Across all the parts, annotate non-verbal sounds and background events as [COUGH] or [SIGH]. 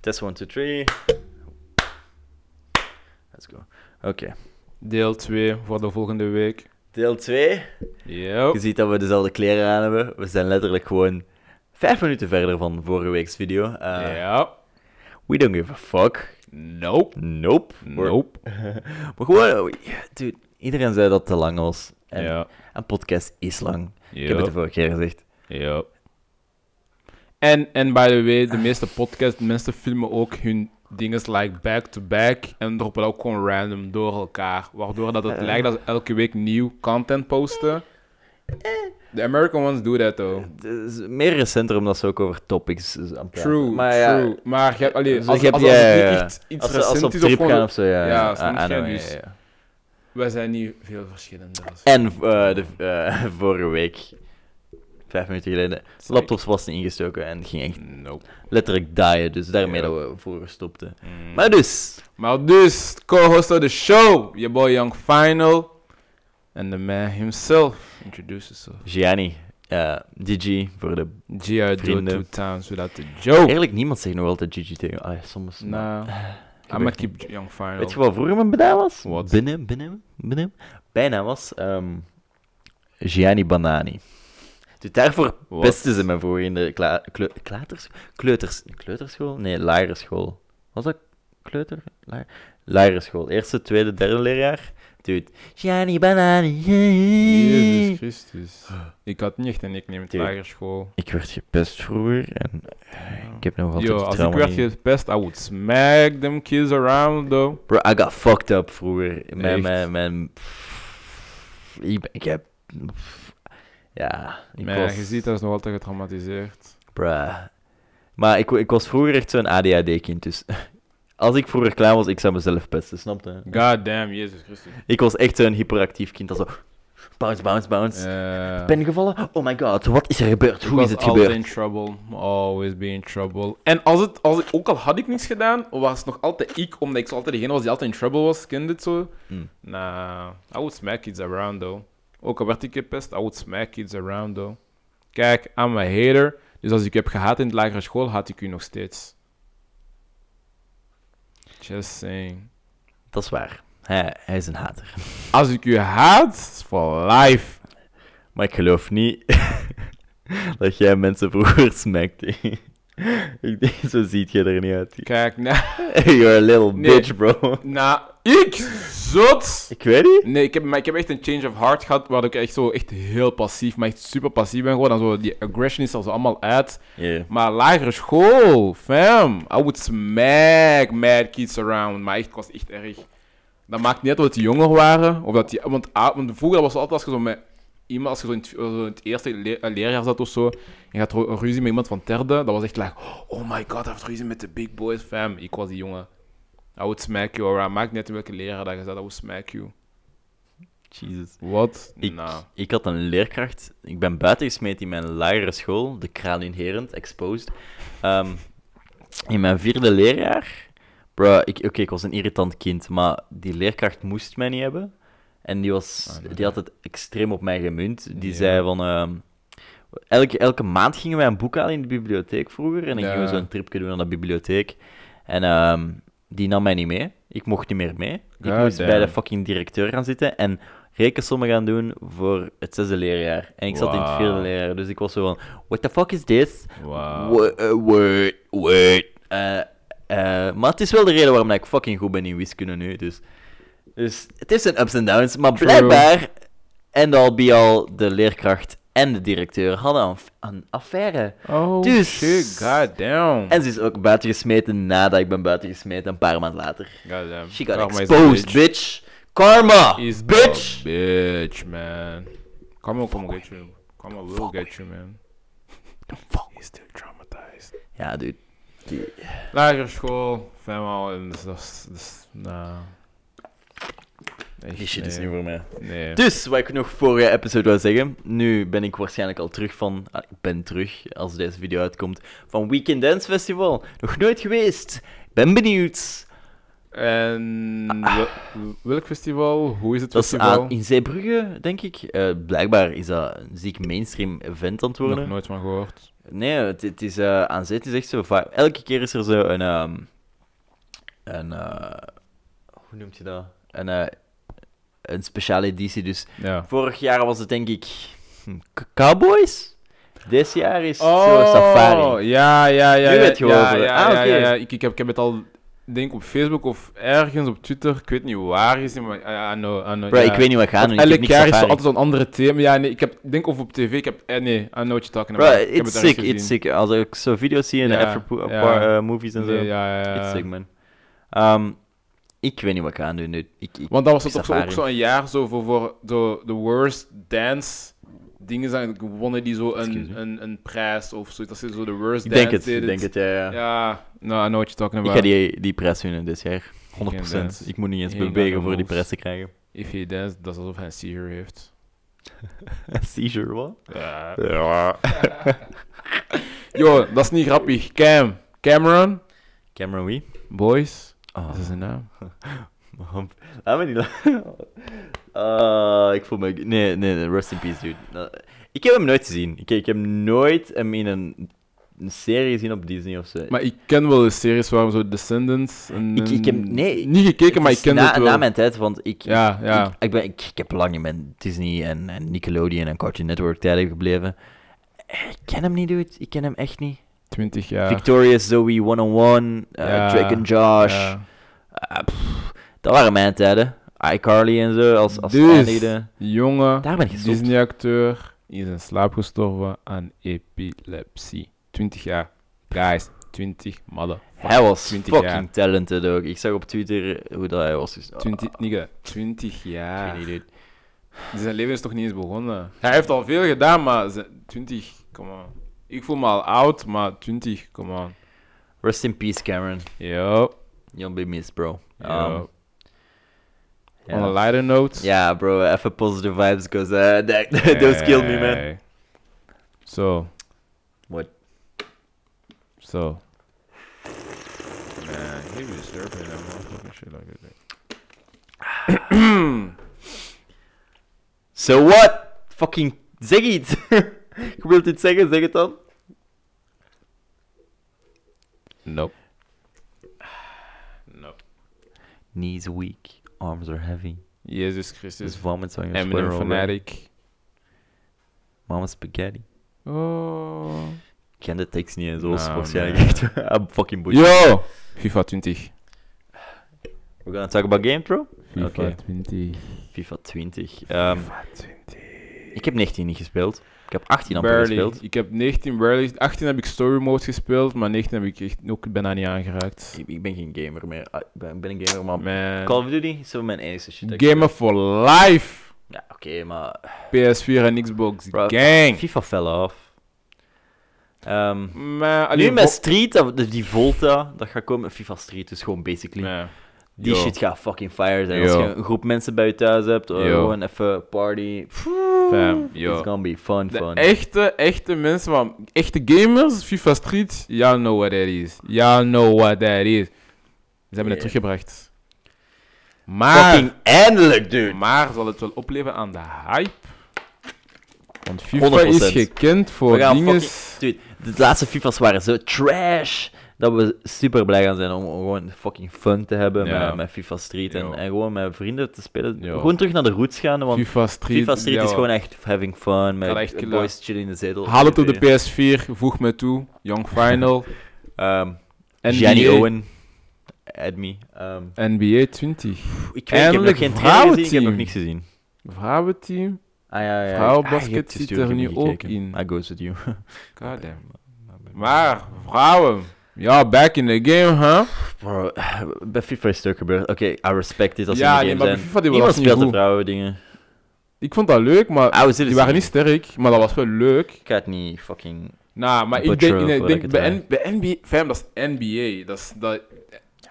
Test 1, 2, 3. Let's go. Oké. Deel 2 voor de volgende week. Deel 2. Yo. Je ziet dat we dezelfde kleren aan hebben. We zijn letterlijk gewoon vijf minuten verder van vorige week's video. Eh, Ja. We don't give a fuck. Nope. Nope. We're- Nope. Maar gewoon, dude, iedereen zei dat het te lang was. En Ja. een podcast is lang. Ik heb het de Ja. vorige keer gezegd. Ja. En, en by the way, de Ah. meeste podcasts, de mensen filmen ook hun dingen like back-to-back en droppen dat ook gewoon random door elkaar. Waardoor dat het Eh. lijkt dat ze elke week nieuw content posten. The American ones do that though. Het is meer recenter omdat ze ook over topics eh, aan het praten. True, maar true. Maar je hebt, allee, Dus als, als, ik heb- als ja, het ja, niet ja. echt iets Als ze, als ze recent op is of trip gewoon- gaan of zo, ja. Ja, I- snap I je? know, Dus- Wij zijn niet veel dus- verschillend. En eh, de, eh, [LAUGHS] vorige week, vijf minuten geleden, laptops was niet ingestoken en ging echt Nope. letterlijk daaien. Dus daarmee Ja. dat we voor stopten. Mm. Maar dus, Maar dus, co-host of the show, your boy Young Final. En the man himself. Introduce yourself. Gianni, eh Digi voor de... GR do Vrienden. two times without the joke. Eerlijk, niemand zegt nog altijd Gigi tegen... Ah, soms... Nou, Ik I'm gonna weet keep Young Final. Weet je wat vroeger mijn bijnaam was? Wat? Binnen, binnen, binnen. Bijnaam was ehm, Gianni Banani. Dus daarvoor Wat? pesten ze me voor in de kla kle- klaters- kleuters kleuterschool? Nee, lagere school. Was dat kleuter? La lagere school. Eerste, tweede, derde leerjaar. Dude, Gianni Banani. Jezus Christus. Ik had niet echt een nickname in de Dude. lagere school. Ik werd gepest vroeger en eh, ik heb nog altijd Yo, het als ik trauma werd niet- gepest, I would smack them kids around though. Bro, I got fucked up vroeger. Mijn, Echt? mijn, mijn... pff, Ik, ben- ik heb... pff, Ja, ik Maar was... je ziet, dat is nog altijd getraumatiseerd. Bruh. Maar ik, ik was vroeger echt zo'n ADHD-kind, dus... [LAUGHS] Als ik vroeger klein was, ik zou mezelf pesten, snap je? God damn, Jezus Christus. Ik was echt zo'n hyperactief kind, dat zo... Bounce, bounce, bounce. Eh, Ben gevallen? Oh my god, wat is er gebeurd? Hoe Ik is was het altijd gebeurd? in trouble. Always be in trouble. En als het, als ik, ook al had ik niks gedaan, was het nog altijd ik, omdat ik zo altijd degene was die altijd in trouble was. Ken je dit zo? Hmm. Nah, I would smack kids around though. Ook al werd ik gepest, I would smack kids around though. Kijk, I'm a hater. Dus als ik heb gehaat in de lagere school, haat ik u nog steeds. Just saying. Dat is waar. Hij, hij is een hater. Als ik u haat, is for life. Maar ik geloof niet [LAUGHS] dat jij mensen vroeger [LAUGHS] smekte. ik denk, zo ziet je er niet uit. Kijk, nou, [LAUGHS] You're a little Nee. bitch, bro. [LAUGHS] nou ik zot. Ik weet niet. Nee, ik heb, maar ik heb echt een change of heart gehad, waar ik echt zo echt heel passief, maar echt super passief ben geworden. En zo, die aggression is er zo allemaal uit. Maar lagere school, fam. I would smack mad kids around. Maar echt, ik was echt erg. Dat maakt niet uit of die jonger waren. Of dat die, want, ah, want vroeger was het altijd als je zo met iemand, als je zo in het, zo in het eerste le- eh, leerjaar zat of zo. En je had ru- ruzie met iemand van derde. Dat was echt like, oh my god, hij heeft ruzie met de big boys, fam. Ik was die jongen. I would smack you around. Maakt niet uit in welke leraar dat je zat, I would smack you. Jesus. Wat? Ik, Nou. ik had een leerkracht. Ik ben buitengesmeed in mijn lagere school, de kraan in Herent, exposed. Ehm, in mijn vierde leerjaar. Bro, ik, oké, ik was een irritant kind, maar die leerkracht moest mij niet hebben. En die, was, Ah, nee. die had het extreem op mij gemunt. Die Ja. zei van. ehm, elke, elke maand gingen wij een boek halen in de bibliotheek vroeger. En dan gingen we Ja. zo'n tripje doen naar de bibliotheek. En ehm, die nam mij niet mee. Ik mocht niet meer mee. Ik God moest bij de Ah, damn. fucking directeur gaan zitten en rekensommen gaan doen voor het zesde leerjaar. En ik zat in het vierde Wauw. leerjaar, dus ik was zo van, what the fuck is this? Wauw. Wo- eh, Word, word. Eh, eh, maar het is wel de reden waarom dat ik fucking goed ben in wiskunde nu, dus... Dus het is een ups en downs, maar True. blijkbaar, en al bij al, de leerkracht en de directeur hadden een, een affaire. Oh Dus- shit, goddamn. En ze is ook buitengesmeten nadat ik ben buitengesmeten, een paar maanden later. Goddamn. She got Karma is a exposed, bitch. Karma, Is bitch. a bitch, man. Karma will come get you. Karma will get you, man. He's still traumatized. Ja, dude. Die- Lagere school, female, en dat is... dat is- Nou... Echt, Die shit is nee. niet voor mij. Nee. Dus, wat ik nog vorige episode wou zeggen. Nu ben ik waarschijnlijk al terug van... ah, ik ben terug, als deze video uitkomt. Van Weekend Dance Festival. Nog nooit geweest. Ben benieuwd. En... wel- Welk festival? Hoe is het Dat is festival? aan, in Zeebrugge, denk ik. Eh, blijkbaar is dat een ziek mainstream event aan het worden. Nog nooit van gehoord. Nee, het, het is eh, aan zee, het is echt zo vaak. Elke keer is er zo een. ehm, een eh, hoe noemt je dat? Een, eh, een speciale editie. Dus Ja. vorig jaar was het denk ik. hm, K- Cowboys? Dit jaar is zo Oh, Safari. Ja, ja, ja. Nu ja, weet je wel ja, wat we- ja, Ah, ja, oké. ja, ja. Ik, ik, heb, ik heb het al, denk op Facebook of ergens op Twitter. Ik weet niet waar is het, maar... I- I know, I know, Bro, ja. ik weet niet wat ik ga doen. Ik heb Elk niks jaar is er safari. altijd zo'n andere thema. Ja, nee, ik heb, denk of op tv, ik heb... Eh, nee, I know what you're talking about. Bro, Ik heb it's het ergens sick, it's gezien. sick. Als ik zo video's zie in de Ja, after eh, ja. movies en zo. Nee, ja, ja, ja. It's sick, man. Ehm, ik weet niet wat ik ga doen nu. Ik, ik, Want dat was het ook zo- ook Safari. zo'n jaar zo voor, voor de, de worst dance dingen zijn gewonnen die zo Excuse een, me. een, een prijs of zoiets. Dat ze zo de worst ik dance denk het, ik deden. denk het, ja, ja. Ja, nou, I know what you're talking Ik about. ga die, die prijs winnen dit jaar. 100%. dance. Ik moet niet eens Ik ga bewegen de voor die moves. prijs te krijgen. [LAUGHS] If he dance, dat is alsof hij een seizure heeft. Seizure, wat? Ja. Ja. [LAUGHS] Yo, dat is niet grappig. Cam, Cameron, Cameron Wee. boys, Oh, [LAUGHS] dat is zijn naam. man. Laat me niet lachen. [LAUGHS] Ah, ik voel me... Nee, nee, nee, rest in peace, dude. Dat- Ik heb hem nooit gezien. Ik, ik heb nooit hem in een, een serie gezien op Disney of zo. Maar ik ken wel de series waar zo Descendants en... Ik- ik heb- nee, Niet gekeken, maar Het ik is ken na, het wel. na mijn tijd, want ik, Ja, ja. Ik, ik, ben, ik, ik heb lang in mijn Disney en, en Nickelodeon en Cartoon Network tijden gebleven. Eh, Ik ken hem niet, dude. Ik ken hem echt niet. 20 jaar. Victorious, Zoe, 101, eh Ja, Drake and Josh. Ja. Ah, pff, dat waren mijn tijden. iCarly en zo, als, als Dus, eindigde. jongen, Daar ben ik gestopt. Disney-acteur, is in slaap gestorven aan epilepsie. 20 jaar. Guys, 20 madden. Hij was 20 fucking jaar. talented ook. Ik zag op Twitter hoe dat hij was. Dus, ah, 20, nigga, 20 ik jaar. weet niet, dude. Zijn leven is toch niet eens begonnen? Hij heeft al veel gedaan, maar ze- 20, come on. Ik voel me al oud, maar 20, come on. Rest in peace, Cameron. Yo. You'll be missed, bro. yo. Um, ja. On a lighter note. [LAUGHS] Ja, bro, even positive vibes, because uh, [LAUGHS] that, those killed me, man. Hey. So, What? so. Man, he was disturbing that motherfucking shit like that. So what? Fucking zeg iets. [LAUGHS] Je wilt iets zeggen, zeg het dan. Nope. Nope. Knees weak, arms are heavy. Dus Jezus Christus. There's vomits on your Eminem sweater already. fanatic. Mama spaghetti. Oh. Ik ken de tekst niet en zo, is Nou, waarschijnlijk nee. echt. [LAUGHS] I'm fucking bullshit. Yo! FIFA 20. We're gonna talk about game, bro? FIFA Oké. 20. FIFA 20. Ehm, FIFA 20. ik heb 19 niet gespeeld. Ik heb 18 amper Barely. gespeeld. Ik heb 19 barely. 18 heb ik story mode gespeeld, maar 19 heb ik echt ook bijna niet aangeraakt. Ik, ik ben geen gamer meer. Ah, Ik ben, ik ben een gamer, maar Call Man. of Duty is zo mijn enige shit. dat ik- Gamer for life! Ja, oké, maar PS4 en Xbox. Bro, Gang! FIFA fell af. Ehm, Man, nu alleen met vo- Street, dat- de- die Volta, dat gaat komen. FIFA Street is gewoon basically. Man. Die Yo. shit gaat fucking fire zijn. Als Yo. je een groep mensen bij je thuis hebt, eh, Yo. gewoon even party. Fam, yo. It's gonna be fun, De fun. echte, echte mensen van echte gamers, FIFA Street, y'all know what that is. Y'all know what that is. Ze hebben Yeah. het teruggebracht. Maar, Fucking eindelijk, dude. Ah. maar zal het wel opleveren aan de hype? Want FIFA 100%. is gekend voor We gaan dingen. fucking... Dude, de laatste FIFA's waren zo trash. Dat we super blij gaan zijn om gewoon fucking fun te hebben Ja. met, met FIFA Street. En, Yo. en gewoon met vrienden te spelen. Yo. Gewoon terug naar de roots gaan, want FIFA Street, FIFA Street ja, is gewoon echt having fun. Met Kan echt killen. boys chillen in de zetel. Haal het op de PS4, voeg me toe. Young Final. Ehm, NBA, [LAUGHS] Gianni Owen. Add me. Ehm, NBA ik, 20. weet, ik heb nog Eindelijk geen trailer gezien, ik heb nog vrouwenteam. niks gezien. Vrouwenteam. Ah ja, ja. Vrouwenbasket je hebt zit gestuurd, er ik heb nu niet ook gekeken. in. I goes with you. Goddamn. Maar, vrouwen. Ja, back in the game, huh? Bro, [SIGHS] bij FIFA is het ook gebeurd. Oké, I respect dit als ze in Ja, de nee, game maar bij zijn. FIFA die Niemand was niet speelt de goed. vrouwen dingen. Ik vond dat leuk, maar Ah, we zullen die ze waren zien. niet sterk. Maar dat was wel leuk. Ik ga het niet fucking... Nou, maar ik Butcher denk, of nee, ik wat denk ik het bij, heet. N- bij NBA... Fam, dat is NBA. Dat is, dat,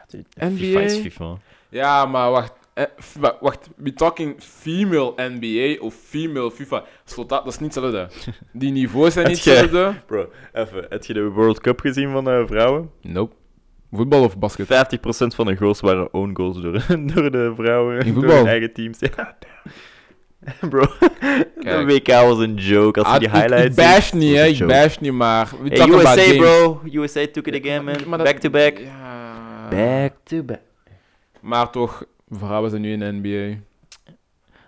FIFA NBA? is FIFA. ja, maar wacht. eh, f- wa- Wacht, we talking female NBA of female FIFA. Dat is tot Dat dat is niet [LAUGHS] hetzelfde. Die niveaus zijn niet Het ge- hetzelfde. Bro, even. Heb je de World Cup gezien van eh, vrouwen? Nope. Voetbal of 50% basket? van de [LAUGHS] goals waren own goals door, door de vrouwen. In door voetbal? hun eigen teams. Ja. [LAUGHS] Bro, de WK was een joke. Als je Ah, die ik- highlights Ik bash ziet, niet, hè. was een Ik joke. bash niet, maar... We Hey, talk about USA, games. bro. USA took it again, man. Maar dat- Back to back. Ja. Back to back. Maar toch, vrouwen zijn nu in de NBA.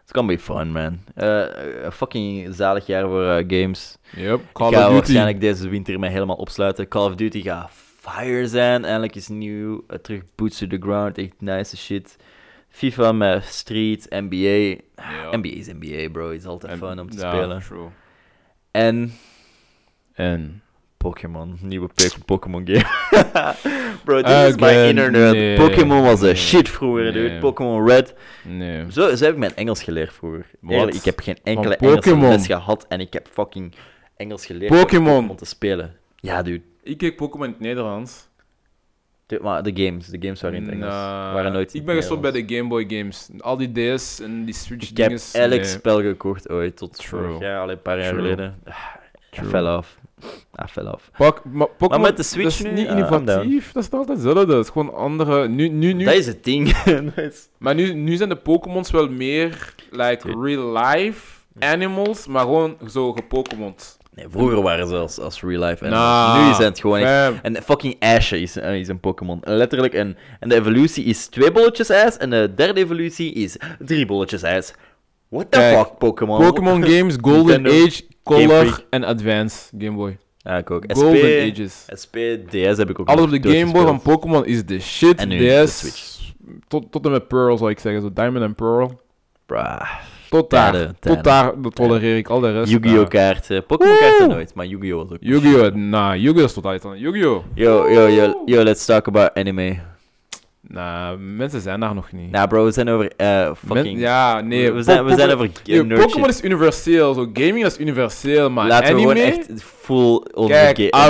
It's gonna be fun, man. Eh, eh, fucking zalig jaar voor eh, games. Yep, Call ik ga of Duty. waarschijnlijk deze winter mij helemaal opsluiten. Call of Duty gaat fire zijn. Eindelijk is nieuw. Eh, terug boots to the ground. Echt nice shit. FIFA met Street, NBA. Ja. NBA is NBA, bro. Is altijd En- fun om te ja, spelen. true. En En... Pokémon. Nieuwe Pe- Pokémon game. [LAUGHS] bro, dit is Again, mijn internet. nee. Pokémon was Nee. een shit vroeger, dude. Nee. Pokémon Red. Nee. Zo, zo heb ik mijn Engels geleerd vroeger. Wat? Eerlijk, ik heb geen enkele Van Engelse Pokémon. les gehad en ik heb fucking Engels geleerd door Pokémon. te spelen. Ja, dude. Ik keek Pokémon in het Nederlands. De, maar de games, de games waren in het Engels. Nah, waren nooit in het ik ben gestopt bij Nederlands. de Game Boy games. Al die DS en die Switch Ik heb dinges. elk nee. spel gekocht ooit, tot True. vorig jaar, alleen een paar jaar True. geleden. Ah, I True. fell off. I fell off. Pak- maar Pokémon, met de Switch dat is nu, niet ah, I'm down. innovatief. Dat is nog altijd hetzelfde. Dat is gewoon andere... Nu, nu, nu, Dat is het ding. [LAUGHS] Dat is- Maar nu, nu zijn de Pokémons wel meer like Tuurlijk. real life animals, maar gewoon zo gepokémond. Nou. nee, vroeger waren ze als, als real life animals. Nah, nu zijn het gewoon echt fam. En fucking Ash is, eh, is een Pokémon. Letterlijk. En, en de evolutie is twee bolletjes ijs. En de derde evolutie is drie bolletjes ijs. What the Kijk, fuck, Pokémon? [LAUGHS] Pokémon games, Golden Nintendo, Age, Game Freak. Color en Advance Game Boy. Ja, ik ook. SP, Golden Ages. SP, DS heb ik ook Alles nog op de dood Game Boy van gespeeld. Pokémon is de shit. En nu de DS, Switch. Tot, tot en met Pearl zou ik zeggen, zo Diamond en Pearl. Bruh. Tot daar, Tijden, tijden. tot daar dat tolereer ik al de rest. Yu-Gi-Oh! nah. kaarten. Pokémon kaarten Woe! nooit, maar Yu-Gi-Oh! was ook. Yu-Gi-Oh! Nah, Yu-Gi-Oh! is totaal iets anders. Yu-Gi-Oh! Yo, yo, yo, yo, let's talk about anime. Nah, Nou, mensen zijn daar nog niet. Nou, bro, we zijn over eh, Men- fucking. ja, nee. we, zijn, we Pok- zijn Pok- over Ja, eh, nerd Pokémon shit. is universeel, zo gaming dat is universeel, maar Laten we anime... gewoon echt full over Kijk, ga- nerd I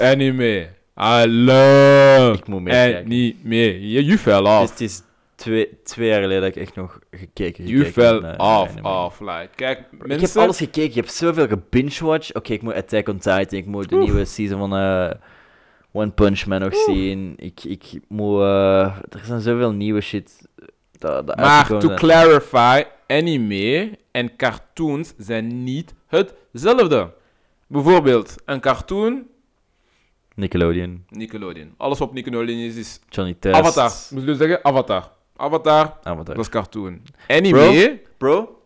moments. anime. I love Ik moet meer kijken. anime. You, you fell Dus off. het is twee, twee jaar geleden dat ik echt nog gekeken You gekeken fell heb naar- naar off, anime. off. Like, kijk, Ik mensen... heb alles gekeken, ik heb zoveel gebinge-watch. Oké, ik moet Attack on Titan, ik moet de Oef. nieuwe season van eh, One Punch Man nog zien. Ik, ik moet... eh, er zijn zoveel nieuwe shit. eh, Dat, dat Maar uitgekomen to zijn. clarify, anime en cartoons zijn niet hetzelfde. Bijvoorbeeld, een cartoon, Nickelodeon, Nickelodeon. Alles op Nickelodeon is, is Johnny Test. Avatar. Moet je dus zeggen, Avatar. Avatar, Avatar. dat is cartoon. Anime... Bro?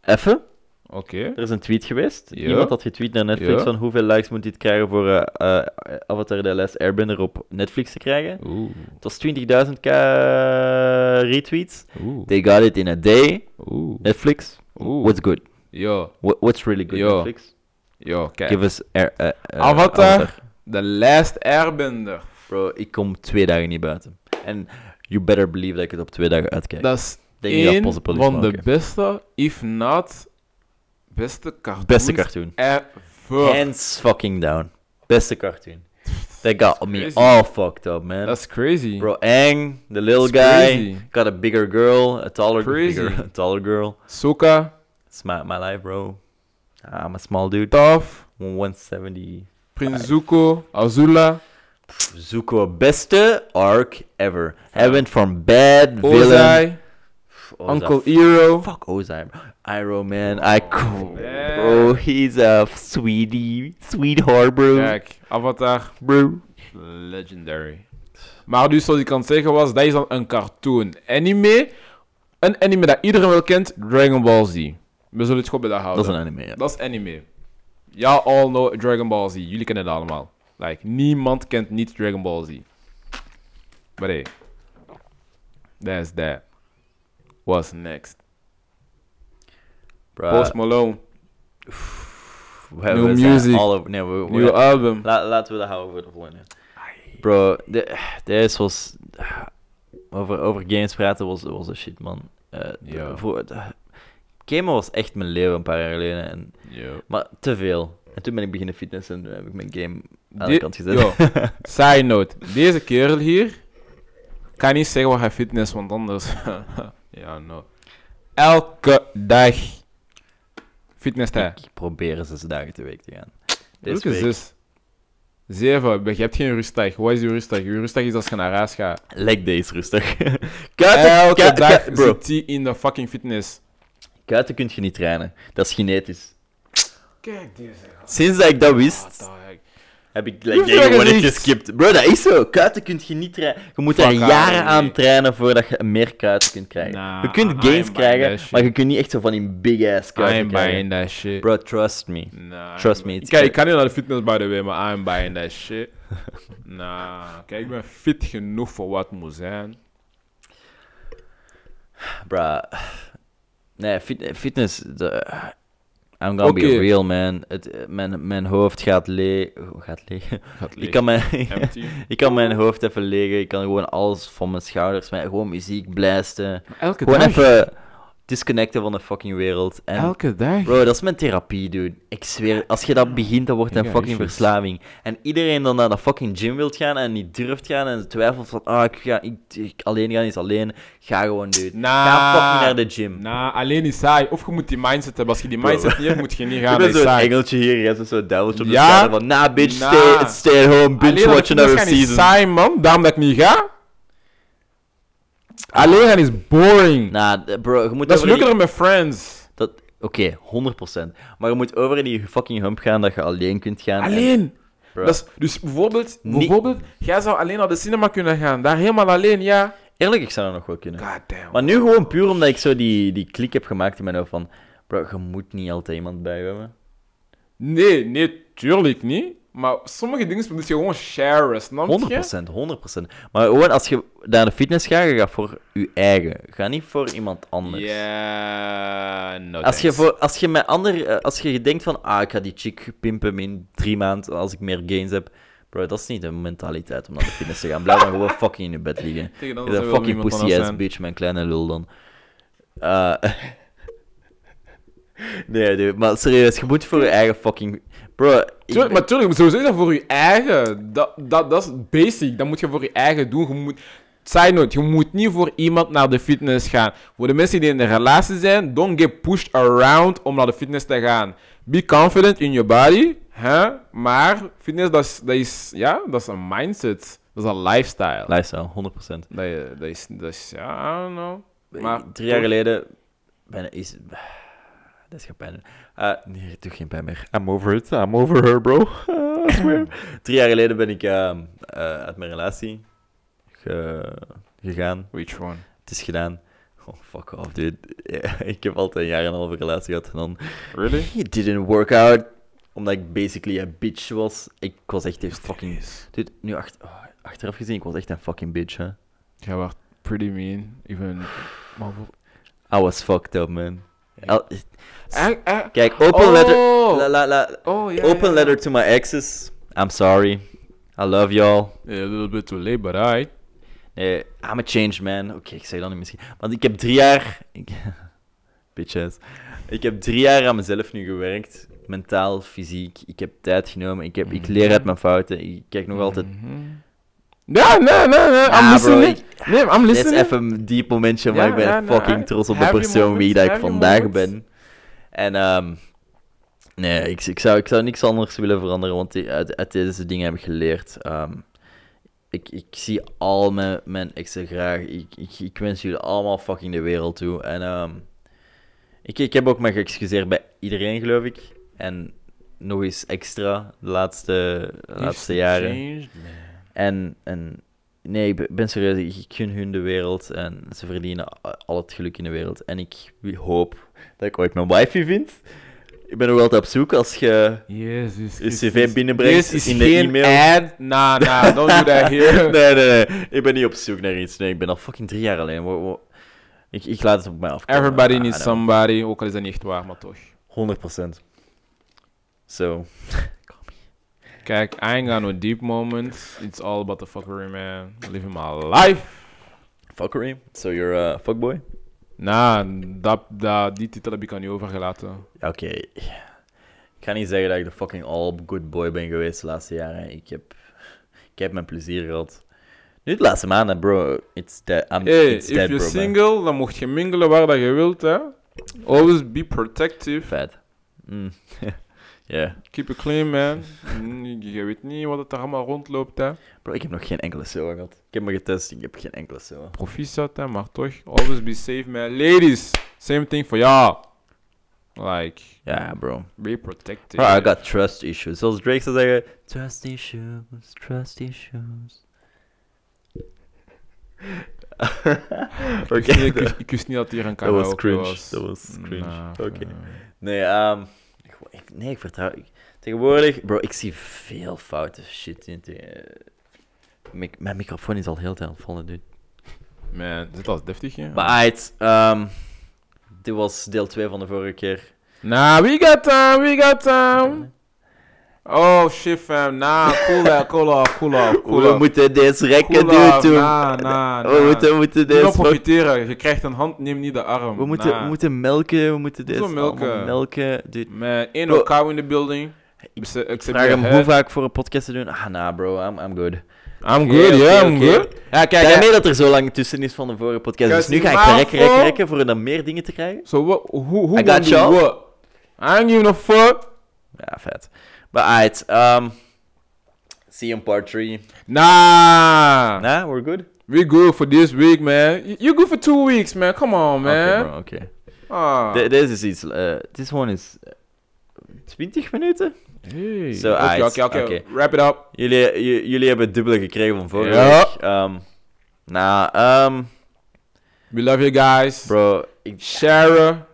Even, Oké. er is een tweet geweest. Ja. Iemand had getweet naar Netflix Ja. van hoeveel likes moet dit krijgen voor eh, eh, Avatar The Last Airbender op Netflix te krijgen. Oeh, Het was 20.000 k eh, retweets. oeh, They got it in a day. oeh. Netflix, Oeh. what's good? Yo, What, what's really good, Yo. Netflix? yo, kijk. Give us... air- eh, eh, Avatar. The Last Airbender. Bro, ik kom twee dagen niet buiten. En you better believe dat ik het op twee dagen uitkijk. Dat is Denk niet dat één Possible is, van maar de oké. beste, if not, beste cartoons Beste cartoon. ever. Hands fucking down. Beste cartoon. That got me crazy. all fucked up, man. That's crazy. Bro, Aang, the little That's guy, crazy. got a bigger girl, a taller, Crazy. bigger, [LAUGHS] a taller girl. Soka, It's my, my life, bro. Ah, I'm a small dude. Toph, 170. Prince Zuko, Azula, Zuko, beste arc ever. Hij went from bad villain. Ozai, Pff, Mhm. Ozai. Uncle Iro. Fuck Ozai. bro. Iron Man. I cr- man. Bro, he's a sweetie. Sweetheart, bro. Kijk, Avatar. Bro. Legendary. Maar dus zoals ik kan zeggen was, dat is dan een cartoon. Anime, een anime dat iedereen wel kent, Dragon Ball Z. We zullen het goed bij dat houden. Dat is een anime, ja. Dat is anime. Ja, all know Dragon Ball Z. Jullie kennen het allemaal. Like, niemand kent niet Dragon Ball Z. Maar hey. That's that. What's next? Bro, Post Malone. we hebben- new we zijn music. all over- nee, we, we- Nieuw album. La- laten we dat houden voor de volgende. Bro, de- deze was... Over, over games praten was, was een shit, man. Eh, de- Ja. voor, de- gamen was echt mijn leven een paar jaar geleden. En Yo. Maar te veel. En toen ben ik beginnen fitnessen en toen heb ik mijn game aan de Dit- kant gezet. [LAUGHS] Yo, side note. Deze kerel hier kan niet zeggen wat hij fitness, want anders. [LAUGHS] ja, no. Elke dag fitness hij. ik probeer zes dagen te week te gaan. Deze Welke week zes? Zeven. Je hebt geen rustdag. Wat is je rustdag? Je rustdag is als je naar huis gaat. leg days rustig. [LAUGHS] Kuiten, Elke kuiten, dag kuiten- bro. zit hij in de fucking fitness. Kuiten kun je niet trainen. Dat is genetisch. Kijk deze. Sinds dat ik dat wist, heb ik like, vraagt jij gewoon het echt niet. geskipt. Bro, dat is zo. Kuiten kun je niet trainen. Je moet daar Fuck out, jaren nee. aan trainen voordat je meer kuiten kunt krijgen. Nah, je kunt I am gains buying that krijgen, shit. maar je kunt niet echt zo van die big-ass kuiten I'm krijgen. buying that shit. Bro, trust me. Nah, Trust I'm- me, Ik it's kan, good. ik kan niet naar de fitness, by the way, maar I'm buying that [LAUGHS] shit. nah, kijk, ik ben fit genoeg voor wat het moet zijn. Bro. Nee, fit- fitness... de- I'm gonna Oké. be real, man. Het, eh, mijn, mijn hoofd gaat leeg... Gaat leeg? Gaat [LAUGHS] Ik kan mijn... Empty. [LAUGHS] Ik kan mijn hoofd even legen, ik kan gewoon alles van mijn schouders, mijn, gewoon muziek blasten. [LAUGHS] Elke Gewoon dag. even disconnecten van de fucking wereld. En Elke dag. bro, dat is mijn therapie, dude. Ik zweer, als je dat begint, dan wordt dat Ik een heb fucking issues. verslaving. En iedereen dan naar de fucking gym wilt gaan en niet durft gaan en twijfelt van, ah, ik ga ik, ik alleen gaan is alleen. Ga gewoon, dude. Ga fucking naar de gym. Nah, alleen is saai. Of je moet die mindset hebben. Als je die mindset niet hebt, moet [LAUGHS] je niet gaan. Ik Dat ben is zo'n saai. engeltje hier, jij bent zo'n duiveltje op de Ja? schouder van, nah, bitch, Nah. stay, stay at home, binge Alleen watch dat another gaan is season. saai, man. Daarom dat ik niet ga. Alleen gaan is boring. Nah, bro, je moet dat is over die- leuker dan met friends. Dat, oké, 100%. Maar je moet over in die fucking hump gaan dat je alleen kunt gaan. en- Alleen. Bro. Dat is, dus bijvoorbeeld, Niet- bijvoorbeeld, jij zou alleen naar de cinema kunnen gaan. Daar helemaal alleen, ja. Eerlijk, ik zou dat nog wel kunnen. God damn. Maar nu gewoon puur omdat ik zo die, die klik heb gemaakt in mijn hoofd van... Bro, je moet niet altijd iemand bij je hebben. Nee, nee, tuurlijk niet. Maar sommige dingen moet je gewoon sharen, snap je? 100%, 100%. Maar gewoon als je naar de fitness gaat, je gaat voor je eigen. Ga niet voor iemand anders. Ja, no Als je, thanks. voor, als je met ander, eh, als je denkt van, ah, ik ga die chick pimpen in drie maanden als ik meer gains heb. Bro, dat is niet de mentaliteit om naar de fitness te gaan. Blijf dan gewoon fucking in je bed liggen. [LAUGHS] Tegen dan Je zou bent wel fucking iemand pussy anders ass zijn. bitch, mijn kleine lul dan. Eh, [LAUGHS] nee, dude, maar serieus, je moet voor je eigen fucking. Bro, ik Tuurlijk, ben- maar tuurlijk, sowieso is dat voor je eigen. Dat, dat, dat is basic. Dat moet je voor je eigen doen. Je moet, side note, je moet niet voor iemand naar de fitness gaan. Voor de mensen die in een relatie zijn, don't get pushed around om naar de fitness te gaan. Be confident in your body. Hè? Maar fitness, dat is, dat, is, ja, dat is een mindset. Dat is een lifestyle. lifestyle, 100%. Dat, je- dat is, dat is, ja, I don't know. Maar Drie jaar geleden ben is. [SIGHS] Dat is geen pijn. Eh, nee, het doet geen pijn meer. I'm over it. I'm over her, bro. [LAUGHS] I swear. Drie jaar geleden ben ik ehm, eh, uit mijn relatie ge- gegaan. Which one? Het is gedaan. Oh, fuck off, dude. [LAUGHS] ik heb altijd een jaar en een halve relatie gehad en dan... Really? It didn't work out. Omdat ik basically een bitch was. Ik was echt een fucking... Dude, nu acht- oh, achteraf gezien, ik was echt een fucking bitch, hè. Jij was pretty mean. Even... Maar, I was fucked up, man. Al- Eh, eh, Kijk, open oh. letter... La, la, la- Oh, ja, open ja, letter to my exes. I'm sorry. I love y'all. Yeah, a little bit too late, but alright. Nee, I'm a changed man. Oké, ik zeg dat niet misschien. Want ik heb drie jaar... Ik... [LAUGHS] Bitches. Ik heb drie jaar aan mezelf nu gewerkt. Mentaal, fysiek. Ik heb tijd genomen. Ik, heb... ik leer uit mijn fouten. Ik kijk nog altijd... Ja, Mhm. nee, nee, nee. I'm Ah, listening. bro, ik- Nee, I'm Dit is listening. even een diep momentje, maar Ja, ik ben ja, nou, fucking I- trots op de have your persoon moments, wie dat ik have your vandaag moments. ben. En ehm nee, ik, ik, zou, ik zou niks anders willen veranderen, want die- uit, uit deze dingen heb ik geleerd. Ehm, ik, ik zie al mijn, mijn exen graag. Ik, ik, ik wens jullie allemaal fucking de wereld toe. En ehm, ik, ik heb ook me geëxcuseerd bij iedereen, geloof ik. En nog eens extra de laatste, de laatste jaren. En, en nee, ik ben- ben serieus, ik- ik gun hun de wereld en ze verdienen a- al het geluk in de wereld. En ik hoop dat ik ooit mijn wifey vind. Ik ben nog altijd op zoek als je... Jezus. Is Christus. cv binnenbrengt Dit is in de geen e-mail. ad. Nah, nah, don't do that here. Nee, [LAUGHS] nee, nee. Ik ben niet op zoek naar iets. Nee, ik ben al fucking drie jaar alleen. Wo- wo- Ik, ik laat het op mij afkomen. Everybody Ah, I needs don't somebody, ook al is dat niet echt waar, maar toch. know. 100%. So... Kijk, I ain't got no deep moments. It's all about the fuckery, man. Living my life. Fuckery. So you're a fuckboy? Nah, dat, dat, die titel heb ik aan je overgelaten. Oké. Ik ga niet zeggen dat ik de fucking all good boy ben geweest de laatste jaren. Ik heb, ik heb mijn plezier gehad. Nu de laatste maanden, bro. It's dead. I'm, Hey, it's if dead, you're bro. man. single, dan mocht je mingelen waar dat je wilt, hè. Always be protective. Vet. Mm. [LAUGHS] Ja. Keep it clean, man. Mm, Je weet niet wat het er allemaal rondloopt, hè. Bro, ik heb nog geen enkele SOA gehad. Ik heb me getest, ik heb geen enkele SOA. Proficiat, hè, maar toch. Always be safe, man. Ladies, same thing voor jou. Like, Ja, bro. be protective. Bro, Ah, I got trust issues. Zoals Drake zou zeggen, trust issues, trust issues. Oké. Ik wist niet- ik, wist- ik wist niet dat hier een Dat was karaoke Nou, eh, cringe, dat was cringe. Oké. Nee, ehm, goh, ik, nee, ik vertrouw... ik- tegenwoordig, bro, ik zie veel foute shit in. te- eh, mic- mijn microfoon is al heel tijd aan het vallen, dude. Man, dit was deftig, hè? Maar uit, ehm, dit was deel 2 van de vorige keer. Nah, Nou, we got time, we got time. Oh, shit, fam. Nah, cool off, cool off, cool off, cool We off. moeten deze rekken Cool doen, off, toen. nah, nah, [LAUGHS] We nah. moeten, we moeten Niet deze... op profiteren. Je krijgt een hand, neem niet de arm. We moeten, Nah. we moeten melken, we moeten dit Hoezo melken? allemaal melken. Dude, Man, ain't Bro. no cow in the building. Ik Ex- except vraag your hem head. hoe vaak voor een podcast te doen. Ah, nah, bro, I'm, I'm good. I'm Oké, good, oké, yeah, I'm oké. good. Ja, kijk, hè. Daarmee dat er zo lang tussen is van de vorige podcast. Dus Guys, nu ga ik maar rekken, rekken, voor- rekken voor dan meer dingen te krijgen. So what, who, who I got gonna do y'all. what? I ain't giving a fuck. Ja, vet. Maar alright, um, see you in part 3. Nah. Nah, we're good? We good for this week, man. Y- You good for two weeks, man. Come on, Oké, man. bro, oké. Ah. De- Deze is iets... eh, This one is... eh, 20 minuten? Hey. Zo, oké, eyes. oké, oké. Oké. Wrap it up. Jullie, j- jullie hebben het dubbele gekregen van vorige Ja. week. Ehm, nou, ehm, We love you guys. bro, ik, Shara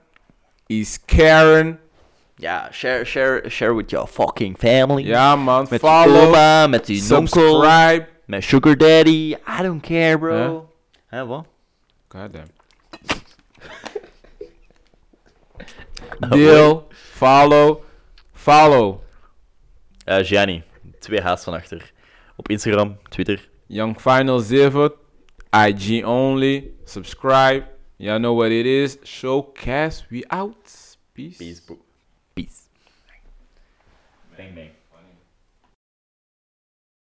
is Karen. Ja, share, share, share with your fucking family. Ja, man. Met je Follow. opa, met je onkel, Subscribe. met sugar daddy. I don't care, bro. Hè, wat? [LAUGHS] Goddamn. Deel. Deel. Follow. Follow. Eh Gianni, twee haast van achter. Op Instagram, Twitter. Young Final Zivert, IG only. Subscribe. Y'all know what it is. Showcast. We out. Peace. Peace. Bang, bang.